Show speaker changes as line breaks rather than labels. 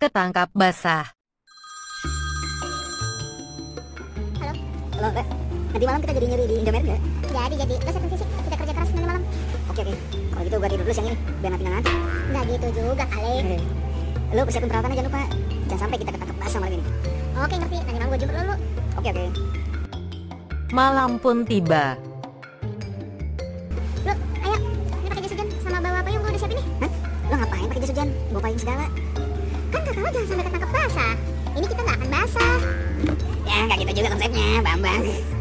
Ketangkap basah.
Halo, Mbak. Nanti malam kita jadi nyuri di Indomaret nggak?
Jadi jadi lo siapa sih? Kita kerja keras nanti malam.
Oke, oke. Kalau gitu gua tidur dulu siang ini, biar nanti nggak ngantuk.
Nggak gitu juga kali.
Hehe. Lu persiapin peralatannya jangan lupa. Jangan sampai kita ketangkep basah malam ini.
Oke ngerti. Nanti malam gue jemput lo. lu.
Oke, oke.
Malam pun tiba.
Lu, ayo. Ini pakai jas hujan sama bawa payung gue udah siap ini.
Lu ngapain pakai jas hujan? Bawa payung segala.
Kan kata lo jangan sampai ketangkep basah. Ini kita nggak akan basah.
Ya, nggak gitu juga konsepnya, Bambang.